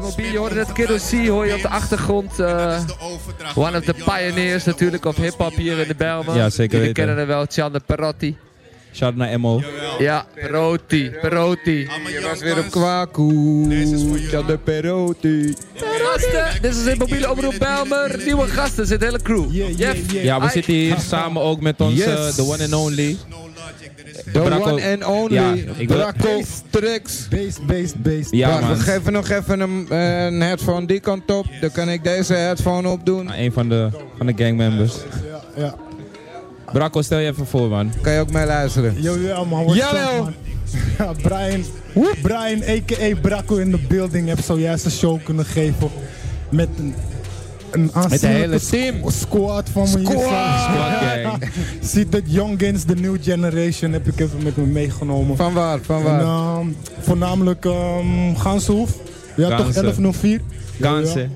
MLB, je hoorde het Kiddo C, hoor je op de achtergrond. eh, one of the pioneers natuurlijk of hip-hop hier in de Belmen. Ja, zeker Jullie weten. kennen hem wel, Chandler Perotti. Shout naar Emmo. Ja, Perotti, Perotti. Je was weer op Kwaku. Deze is voor jullie. Chandler Perotti. Gasten, dit is het mobiele omroep Belmer. Nieuwe gasten, zit de hele crew. Jeff, Ja, we Ai. zitten hier samen ook met onze, Yes. the one and only. The Braco- one and only. Ja, ik wil- Braco Tricks. Beest, beest, beest. Ja, Wacht, man. we geven nog even een, eh, een headphone die kant op. Dan kan ik deze headphone opdoen. Ah, Een van de, van de gangmembers. Ja, ja. Braco, stel je even voor, man. Kan je ook mee luisteren. Yo, ja, man. What's Jawel. up, man? Brian, Brian, a.k.a. Bracco in de building, heb zojuist een show kunnen geven. Met een, een hele aanzienlijke team. squ- squad van me hier Squad. samen. Squad gang. Ziet dat Young Guns, de new generation, heb ik even met me meegenomen. Van waar, van En, waar. ehm, voornamelijk ehm Gansenhoef. Ja, toch Gansen. 1104. Ja, ja. Kansen.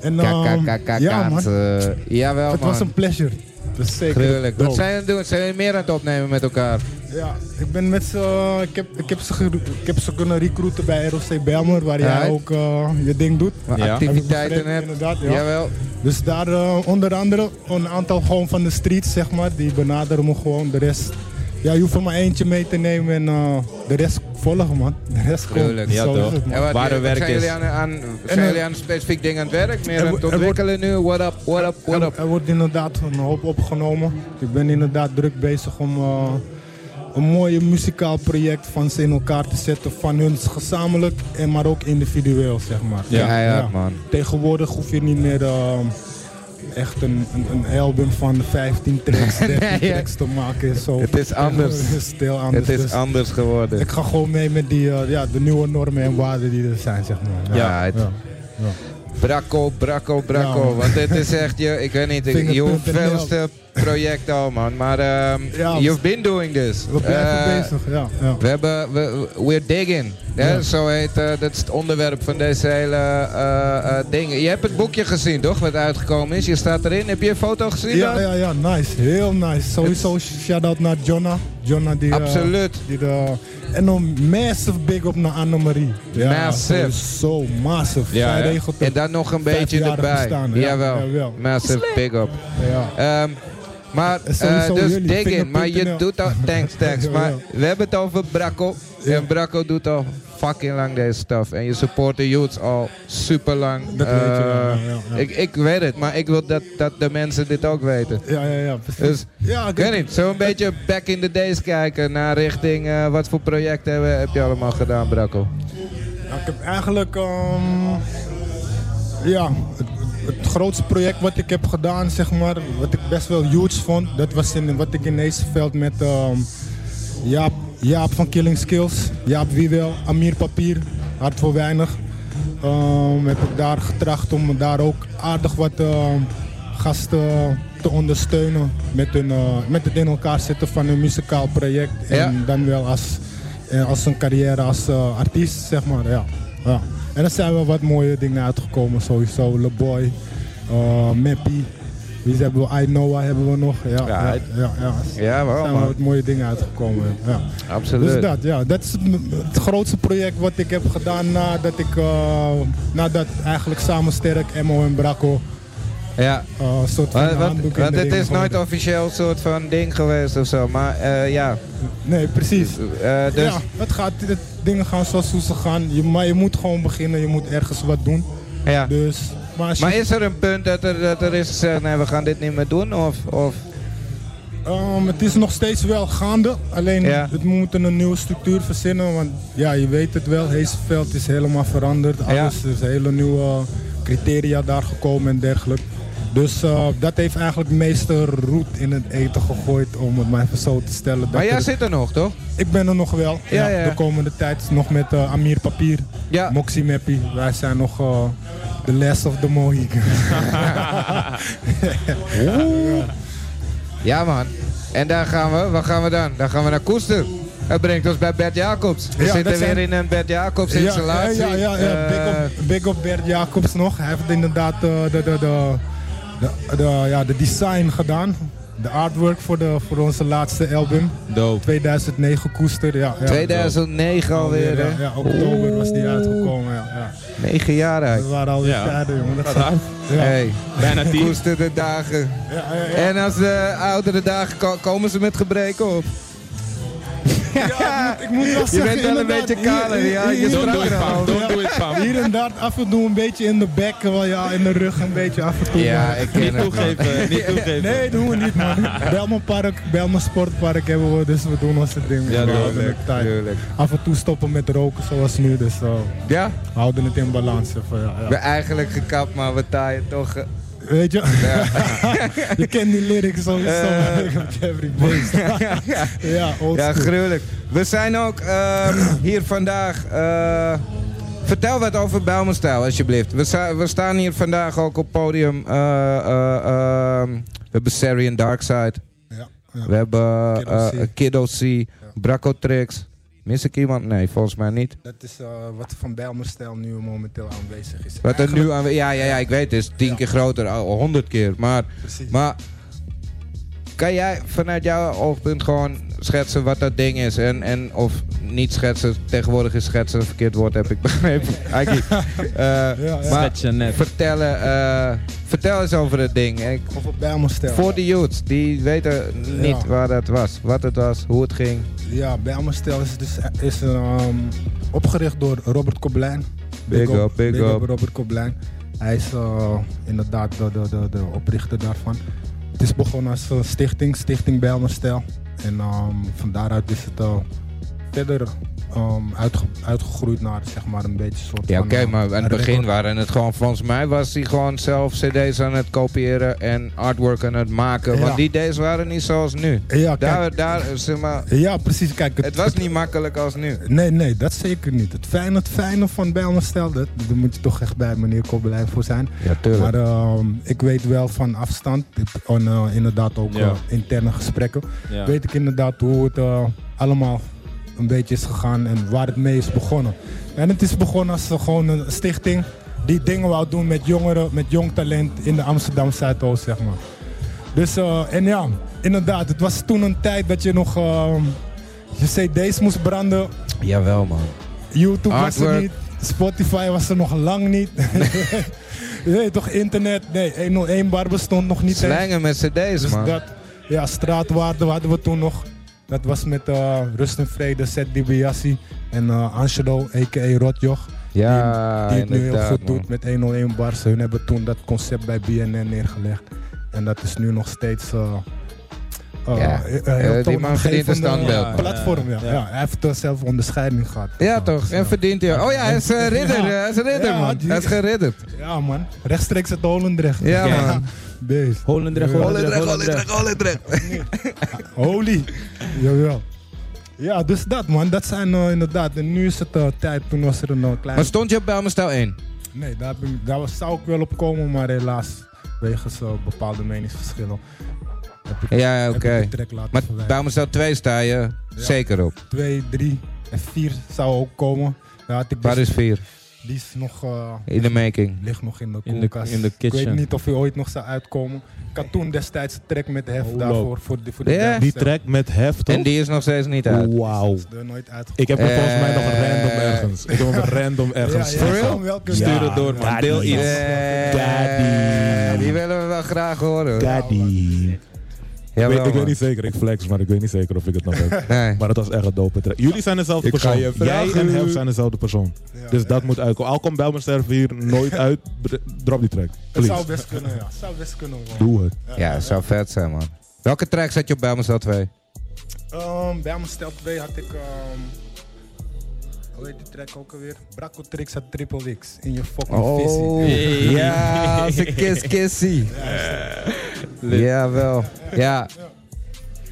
En, ehm, KKKK. ja, man. Jawel, Het man. was een pleasure. Dus zeker. Gruwelijk. Wat dope. zijn we aan het doen? Zijn we meer aan het opnemen met elkaar? Ja, ik ben met ze. eh, Ik heb, ik heb, ze, geroe- ik heb ze kunnen recruiten bij ROC Belmer, waar jij Right. ook eh, je ding doet. Maar Ja. Activiteiten Hebben we hebt? bevrijd, inderdaad, ja. Jawel. Dus daar eh, onder andere een aantal gewoon van de street, zeg maar, die benaderen me gewoon. De rest, ja, je hoeft er maar eentje mee te nemen en eh, de rest volgen, man. De rest gewoon. Gruwelijk. Ja, Zo toch. is het, man. En wat, Ware wat werk zijn is- jullie aan, aan, zijn eh, jullie aan een specifiek ding aan het werk? Meer er aan wordt- het er wordt- ontwikkelen nu? What up, what up, what Er- up? Er wordt inderdaad een hoop opgenomen. Ik ben inderdaad druk bezig om eh, een mooie muzikaal project van ze in elkaar te zetten. Van hun gezamenlijk, en maar ook individueel, zeg maar. Ja. Ja, ja, man. Tegenwoordig hoef je niet meer eh, echt een, een, een album van 15 tracks, 13 ja. tracks te maken. en Zo. Het is anders. Het is heel anders. Het is Dus anders geworden. ik ga gewoon mee met die, eh, ja, de nieuwe normen en waarden die er zijn, zeg maar. Ja, het- ja. Bracco, bracco, bracco. Ja, man. want dit is echt je, ik weet niet, ik, je Vingerpunt hoeveelste project al man. Maar ehm, Ja, man. you've been doing this. We blijven Eh, bezig, ja. ja. We hebben, we, we're digging. Hè? Ja. Zo heet, eh, dat is het onderwerp van deze hele eh, eh, ding. Je hebt het boekje gezien toch, wat uitgekomen is. Je staat erin. Heb je een foto gezien Ja, dan? ja, ja, nice. Heel nice. Sowieso shout-out naar Jonna. Jonna die... eh, Absoluut. die de, en een massive big op naar Annemarie. Massive. Zo massive. Ja, Zij hè? regelt En het. dan nog een beetje Vijfjarig erbij. bestaan, ja. jawel. Jawel. Massive big up. Ja. Ehm, maar, is sowieso eh, dus jullie, dig in. Maar je vinger.nl. doet al, thanks, thanks. Ja, Maar ja. we hebben het over Bracco. En Bracco doet al fucking lang deze stuff. En je support de youths al super lang. Dat weet je wel, ja, ja, ja. Ik, ik weet het, maar ik wil dat, dat de mensen dit ook weten. Ja, ja, ja, precies. Dus, ja, ik weet niet, zo een beetje back in the days kijken naar richting eh, wat voor projecten hebben- heb je allemaal gedaan, Bracco? Nou, ik heb eigenlijk... ehm, ja, het, het grootste project wat ik heb gedaan, zeg maar, wat ik best wel huge vond, dat was in, wat ik in Nezenveld met ehm, Jaap, Jaap van Killing Skills, Jaap Wiewel, Amir Papier, Hart voor Weinig. ehm, heb ik daar getracht om daar ook aardig wat ehm, gasten te ondersteunen met, hun, eh, met het in elkaar zetten van een muzikaal project. En Ja. dan wel als, eh, als een carrière als eh, artiest, zeg maar. Ja. Ja. En er zijn wel wat mooie dingen uitgekomen sowieso. Le Boy, eh, Mappy. Wie hebben we? I Noah hebben we nog. Ja, ja, ja, ja, Ja, Er wel zijn wel man. wat mooie dingen uitgekomen. Ja. Dus Absoluut. dat, ja. Dat is het m- het grootste project wat ik heb gedaan nadat ik, eh, nadat eigenlijk samen Sterk, Emo en Braco Ja, eh soort van Want, handdoek want, in want de het ring is nooit gooiden. officieel een soort van ding geweest of zo, maar eh, ja. Nee, precies. Eh, dus, Ja, het gaat, het, dingen gaan zoals hoe ze gaan. Je, maar je moet gewoon beginnen, je moet ergens wat doen. ja. Dus, maar als je Maar is er een punt dat er, dat er is gezegd, nee, we gaan dit niet meer doen? Of, of Ehm, het is nog steeds wel gaande, alleen Ja. het, we moeten een nieuwe structuur verzinnen. Want ja, je weet het wel, Heesveld is helemaal veranderd. Ja. Alles is hele nieuwe criteria daar gekomen en dergelijke. Dus eh, dat heeft eigenlijk de meeste roet in het eten gegooid, om het maar even zo te stellen. Dat maar jij er- zit er nog, toch? Ik ben er nog wel. Ja, ja. De komende tijd nog met eh, Amir Papier, Ja. Moxie Mappy. Wij zijn nog de the last of the Mohican. Ja, man. En daar gaan we, waar gaan we dan? Daar gaan we naar Koester. Dat brengt ons bij Bert Jacobs. We Ja, zitten dat weer weer in een Bert Jacobs Ja, ja, installatie. ja, ja, ja. Eh, Big, up, big op Bert Jacobs nog. Hij heeft inderdaad eh, de, de, de, de, de- ja, de design gedaan. De artwork voor, de, voor onze laatste album. Dope. 2009 Koester, ja. ja 2009 alweer, Ja, hè? ja, oktober was die uitgekomen, ja. ja. 9 jaar uit. We waren alweer Ja. verder, jongen. Dat gaat- Raar. ja. Hey, Bijna tien. koester de dagen. Ja, ja, ja. En als de oudere dagen ko- komen ze met gebreken op. Ja, ik moet wel Je zeggen, bent wel een inderdaad, beetje kaler, hier- ja. hier- Je hier- Don't do sprak it, er fam. al. Don't do it, fam. Hier en daar af en toe een beetje in de bek, wel ja, in de rug een beetje af en toe. Ja, maar- ik Niet ken het. man. toegeven, niet toegeven. Nee, doen we niet, man. Belmont Park, Belmont Sportpark hebben we, dus we doen onze ding. Ja, we houden tuurlijk, het tijd. Tuurlijk. Af en toe stoppen met roken, zoals nu, dus eh, Ja, we houden het in balans. Even, ja, we ja. eigenlijk gekapt, maar we taaien toch. eh, Weet je, je kent die lyrics sowieso, Eh. maar ik heb Jeffrey Beest. ja, old Ja, school. gruwelijk. We zijn ook ehm, hier vandaag. eh, vertel wat over Bijlmerstijl, alsjeblieft. We, sta- we staan hier vandaag ook op podium. eh, eh, ehm, we hebben Sarian Darkside. Ja, ja. We hebben eh, Kiddo C. eh, Kiddo C. Bracco Tricks. Mis ik iemand? Nee, volgens mij niet. Dat is eh, wat van Bijlmerstijl nu momenteel aanwezig is. Wat er nu aan. Ja, ja, ja, ik weet het. is tien keer groter, al- al honderd keer. Maar, Precies. maar. Kan jij vanuit jouw oogpunt gewoon schetsen wat dat ding is? En, en of niet schetsen, tegenwoordig is schetsen een verkeerd woord, heb ik begrepen. Aki. Eh, ja. Maar Schetsen net. vertellen, eh, vertel eens over het ding. Ik, Over Bijlmerstijl. voor de youths, die weten niet Ja. waar dat was. Wat het was, hoe het ging. Ja, Bijlmerstel is, dus, is ehm, opgericht door Robert Koblijn. Big up, big up. Robert Koblijn. Hij is eh, inderdaad de, de, de, de oprichter daarvan. Het is begonnen als eh, stichting, Stichting Bijlmerstel. En ehm, van daaruit is het eh, verder ehm, uitge- uitgegroeid naar zeg maar een beetje een soort Ja, van, oké, eh, maar aan het een begin record- waren het gewoon, volgens mij was hij gewoon zelf cd's aan het kopiëren en artwork aan het maken. Ja. Want die days waren niet zoals nu. Ja, kijk, Daar, daar, eh, zeg maar, ja, precies. Kijk, het was niet makkelijk als nu. Nee, nee, dat zeker niet. Het fijne, het fijne van Bijlmerstel, dat, daar moet je toch echt bij meneer Kobbelijn voor zijn. Ja, Maar ehm, ik weet wel van afstand, ik- en, eh, inderdaad ook Ja. eh, interne gesprekken, Ja. weet ik inderdaad hoe het eh, allemaal een beetje is gegaan en waar het mee is begonnen. En het is begonnen als eh, gewoon een stichting die dingen wou doen met jongeren, met jong talent in de Amsterdam Zuidoost, zeg maar. Dus, eh, en ja, inderdaad, het was toen een tijd dat je nog ehm, je cd's moest branden Jawel, man. YouTube was Artwork. er niet. Spotify was er nog lang niet. je weet toch, internet. Nee, 101 bar bestond nog niet. eens. Slangen met cd's, Dus man. dat, ja, straatwaarde hadden we toen nog. Dat was met eh, Rust en Vrede, Seth DiBiase en eh, Angelo, a.k.a. Rotjoch. Ja, die het nu heel inderdaad, goed man. doet met 101 bars. Hun hebben toen dat concept bij BNN neergelegd. En dat is nu nog steeds... eh, eh, Ja, eh, heel eh, die man verdient een toonaangevende standbeeld, man. Platform, ja. Ja. Ja, Hij heeft eh, zelf onderscheiding gehad. Ja, toch? En verdient hij. Oh ja, hij is eh, ridder. Ja. eh, Hij is ridder, Ja, man. die- Hij is geridderd. Ja, man. Rechtstreeks het Holendrecht. Ja, Ja. man. Beest. Holendrecht, Holendrecht, Holendrecht. Holy. Jawel. Ja, dus dat man, dat zijn eh, inderdaad. En nu is het eh, tijd, toen was er een eh, klein. Maar stond je op Belmestel 1? Nee, daar, heb ik- daar was- zou ik wel op komen, maar helaas, wegens eh, bepaalde meningsverschillen. Heb ik, Ja, heb ik oké. de track laten Maar verwijderen. Belmestel 2 sta je zeker op. Twee, drie en vier zou ook komen. Daar had ik Waar dus- is 4? Die is nog. eh, In de making. ligt nog in de In de- koelkast. in de Ik kitchen. weet niet of hij ooit nog zou uitkomen. Ik had toen destijds een track met Hef Hola. daarvoor. Voor de, voor de Ja. dance. Die track met heft En die is nog steeds niet uit. Wauw. Er nooit uitgekomen. Ik heb hem Eh. volgens mij nog random ergens. Ik heb hem random ergens. Eh, Ja, ja, real? van welke- Stuur Ja. het door, man. Deel Deel iets. iets. Eh, Daddy. Die willen we wel graag horen. Daddy. Ik Jawel, weet, ik man. weet niet zeker, ik flex, maar ik weet niet zeker of ik het nog heb. Nee. Maar dat was echt een dope track. Jullie zijn dezelfde Ik ga persoon. je Jij vragen. en Hef zijn dezelfde persoon. Ja, Dus ja. dat moet uitkomen. Al komt Belmerster hier nooit uit, br- drop die track. Het zou Please. best kunnen, ja. Het zou best kunnen, man. Doe het. Ja, het zou vet zijn, man. Welke track zet je op Bijlmerstel 2? Ehm, bij mijn stel 2 had ik... ehm, hoe heet die track ook alweer? Bracco Tricks had Triple X in je fucking Oh. Oh, visie. ja, als een kiss kissie. Jawel. Ja.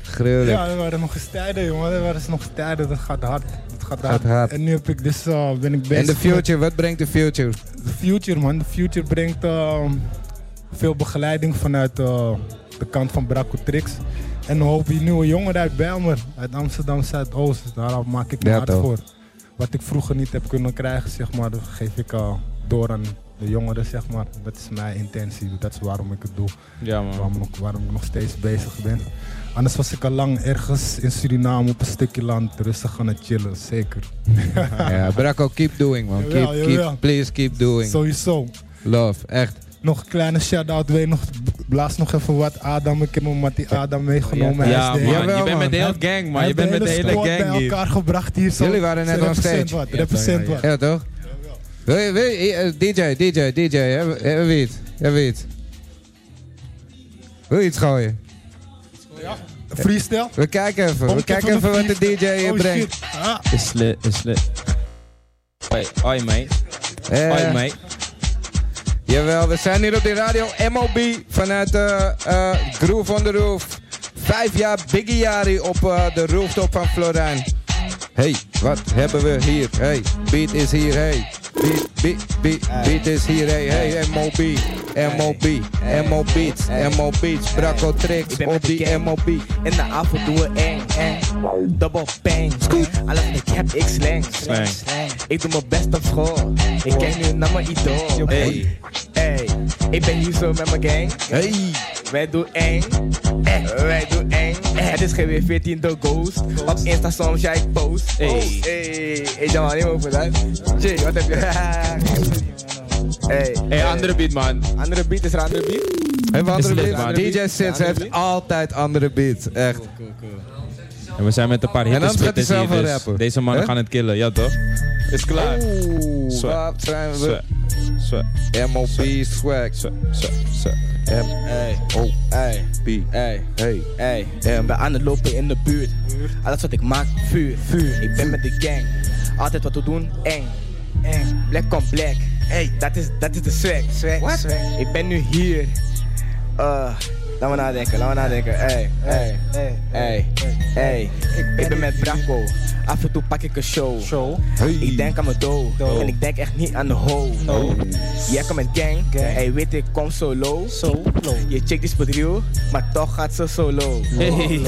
Gruwelijk. Ja, er waren nog eens tijden, jongen. Er waren nog eens tijden. Dat gaat hard. Dat gaat hard. hard. En nu heb ik dus, eh, ben ik bezig En de met- future, wat brengt de future? De Future, man. De Future brengt ehm, veel begeleiding vanuit eh, de kant van Bracco Tricks. En een hoop nieuwe jongeren uit Bijlmer, uit Amsterdam Zuidoost. Daar maak ik me Ja, hard toch. voor. Wat ik vroeger niet heb kunnen krijgen, zeg maar, dat geef ik al door aan de jongeren, zeg maar. Dat is mijn intentie, dat is waarom ik het doe. Ja, man. Waarom, ik- waarom ik nog steeds bezig ben. Anders was ik al lang ergens in Suriname op een stukje land rustig aan het chillen, zeker. Ja, Braco, keep doing, man. Jawel, Keep, jawel. keep, please keep doing. Sowieso. Love, echt. Nog een kleine shout-out, weet nog, blaas nog even wat Adam. Ik heb mijn Mattie Adam meegenomen. Ja, Hij is de- Jawel, man. Je bent man. met de hele gang, man. Je bent met de hele squad gang bij hier. elkaar gebracht hier. Zo. Jullie waren net on Represent stage. Wat, represent wat. Ja, toch? Wil je, wil je, eh, DJ, DJ, DJ, hè? Jij weet, jij weet. Wil je iets gooien? Freestyle. We kijken even, we kijken even wat de DJ hier Oh, brengt. shit. Ah, Is lit, is lit. Hoi, hoi, mate. Eh, Hoi, mate. Jawel, we zijn hier op de radio MOB vanuit eh, eh, Groove on the Roof. Vijf jaar Biggie Jari op eh, de rooftop van Florijn. Hey, wat hebben we hier? Hey, beat is hier, hey. Beat, beat, beat, beat is hier, hey, hey, MOB. MOB, MO Beats, MO Beats, Braco Tricks Ik ben op met de die gang. MOB. In de avond doen we eng, eng. Double bang. Scoot. Alles in de cap, ik slang. Slang. Ik doe mijn best op school. Ik kijk nu naar mijn idool. Hey. Hey. Ik ben hier zo met mijn gang. Hey, Wij doen eng. Eh, Wij doen eng. Het is GW14 de Ghost. Op Insta soms jij post. Hey. Post. Hey. Ik ben alleen maar over dat. Jay, wat heb je? Hey. Hey, andere beat, man. Andere beat is er een andere beat. hebben we Is andere lit, beats? man. DJ Sits heeft altijd andere beats, echt. En we zijn met een paar hitte anders gaat hij spitters hier, zelf wel dus rappen. deze mannen Hè? gaan het killen, ja toch? Oh. Is klaar. Oeh, Swag. wat zijn we? Zo, zo, MOB swag. zo, zo, zo. Hey. Oh. Hey. B. Hey. Hey. Hey, ben aan het lopen in de buurt. Alles wat ik maak, vuur, vuur. Ik ben met de gang. Altijd wat we doen, eng, eng. Black on black. Hey, dat is, dat is de swag, swag, What? swag. Ik ben nu hier. Eh, laat me nadenken, laat me nadenken. Hey, hey, hey, hey. Ik ben met Braco. Af en toe pak ik een show. Ik denk aan mijn dood. En ik denk echt niet aan de ho. Jij kan met gang. Hey, weet ik, kom solo. Je chick is bedriel, maar toch gaat ze solo. Hey. Hey.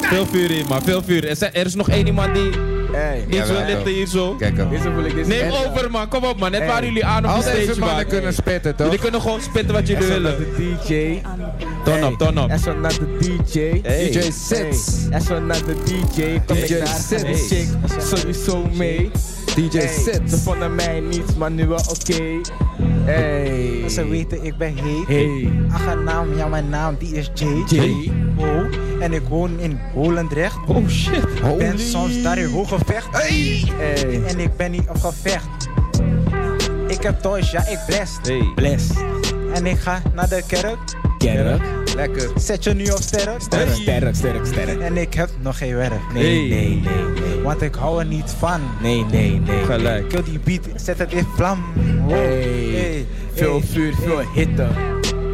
Veel vuur hier, man. Veel vuur. Er, zijn- er is nog één iemand die Hey. niet Jawel, zo litte toch. hier zo. Kijk hem. Deze voel ik deze. Neem En- over, man. Kom op, man. Net Hey. waren jullie aan op Al de deze stage, mannen man. kunnen spitten, toch? Jullie kunnen gewoon spitten wat jullie En zo willen. naar de DJ. Ton op, ton op. En zo naar de DJ. Hey. DJ Sits. Hey. En zo naar de DJ. Kom DJ ik naar Sits. de chick. Sowieso mee. DJ Hey. Ze Sits. vonden mij niet, maar nu wel oké. Hey. Ze weten ik ben heet. Hey. Achternaam, ja mijn naam die is Jay. Jay. Ho. En ik woon in Holendrecht. Oh shit. Ik ben soms daar in hooggevecht. Hey. En ik ben niet op gevecht. Ik heb toys, ja ik bless. Hey. Bless. En ik ga naar de kerk. Sterk. Lekker. Zet je nu op sterren. Sterk, sterk, sterk, sterk. En ik heb nog geen werk. Hey. Nee, nee, nee, nee. Want ik hou er niet van. Nee, nee, nee. Gelijk. Kill die beat, zet het in vlam. Ho. Hey, Hey. veel Hey. vuur, veel hitte.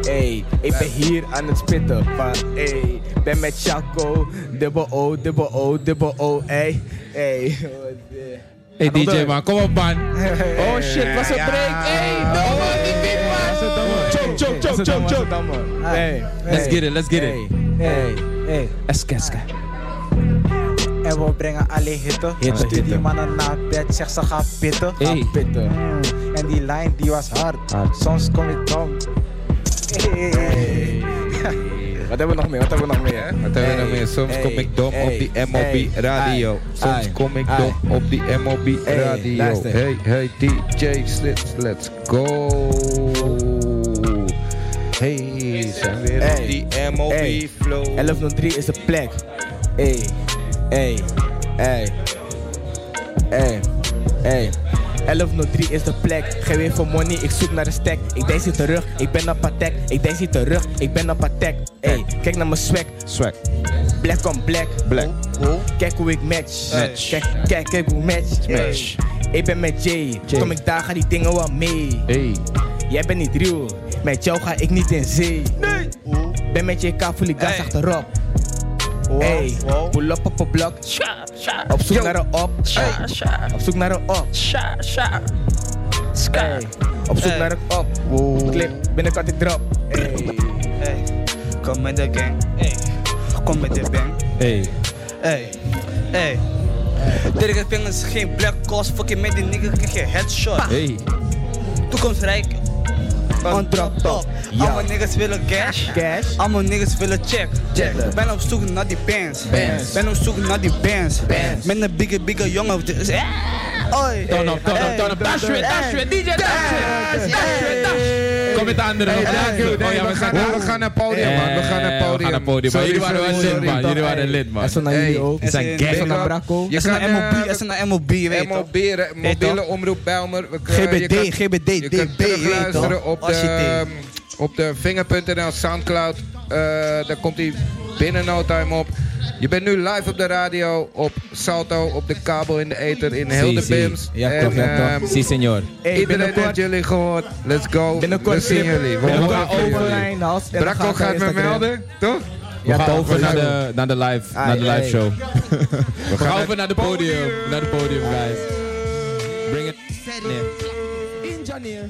Hey, ik ben hier aan het spitten. Maar hey, ben met Chaco. Dubbel O, dubbel O, dubbel O. Hey, hey. Hey DJ, man. Kom op, man. Oh shit, was een Ja. break. Hey, no man, die beat, man. Choke, choke, choke, choke, choke. Hey, Let's get it, let's get hey, it. Hey, Hey. Eske, eske. En we brengen alleen hitte. Hitte, Stuur die hitte. mannen naar bed, zeg ze gaan pitten. Hey. pitten. Mm, En die lijn die was hard. Hard. Soms kom ik dom. Hey. Wat hebben we nog meer? Wat hebben we nog meer? Wat hebben we nog meer? Soms kom ik dom op die MOB radio. Soms kom ik dom op die MOB Hey, radio. luister. Hey, hey, DJ Sits, let's go. Hey, zijn weer op Hey. die MOB Hey. flow. 1103 is de plek. Ey, ey, ey, ey, ey. 1103 is de plek. Geen weer voor money, ik zoek naar de stack. Ik denk ze terug, ik ben op Patek. Ik denk ze terug, ik ben op Patek. Ey, kijk naar mijn swag. Swag. Black on black. Black. Kijk hoe ik match. Match. Kijk, kijk, kijk hoe ik match. Ey. Match. Ik ben met Jay. Kom ik daar, gaan die dingen wel mee. Hey. Jij bent niet real, met jou ga ik niet in zee. Nee. Ben met JK, voel ik gas achterop. Hey, pull up op een blok. Op zoek naar een op. Hey. Op zoek naar een op. Hey. Op zoek naar een op. Clip, binnenkant ik drop. Hey. Hey, kom met de gang. Hey, kom met de bang. Hey. Hey, hey, Drie vingers, geen black cost. Fucking met die nigga, krijg je headshot. Hey. Toekomstrijk. On drop top. Ja. Allemaal niggas willen cash. Cash. Allemaal niggas willen check. Check. Ben op zoek naar die bands. Bands. Ben op zoek naar die bands. Bands. Met een bigger, bigger jongen. Dus, eh, Oi. Turn up, turn up, turn up. Dash weer, dash weer, DJ, dash weer. Dash weer, dash. Kom met de andere. Hey, nog. dank u. Oh Nee, ja, we, gaan naar, we gaan naar podium, man. We gaan naar Eh, podium. We gaan naar podium. Maar Sorry, jullie waren wel sorry, lid, man. sorry. Jullie waren lid, man. En zo naar Hey. jullie ook. Ze zijn En gangster. zo naar Braco. Je Dat is kan, een MOB, eh, dat is een MOB, je weet toch? MOB, re- eh, mobiele toch? omroep Bijlmer. We kun- je GBD, kan- GBD, Je kunt DB, je weet terugluisteren toch? op Als je de, op de vinger.nl, Soundcloud. Eh, daar komt hij binnen no time op. Je bent nu live op de radio, op Salto, op de kabel in de ether, in heel de zie. bims. Ja, En, klopt, ja, ehm, Si, senor. Hey, Iedereen binnenkort- heeft jullie gehoord. Let's go. Binnenkort We zien clip. jullie. We horen van jullie. Overlijn, als- en dan Bracco gaan we gaat me Instagram. melden, toch? We gaan toch? over naar de, naar de live, Ah, naar de ai. live show. We gaan over naar de podium. Naar de podium, guys. Bring it. Engineer.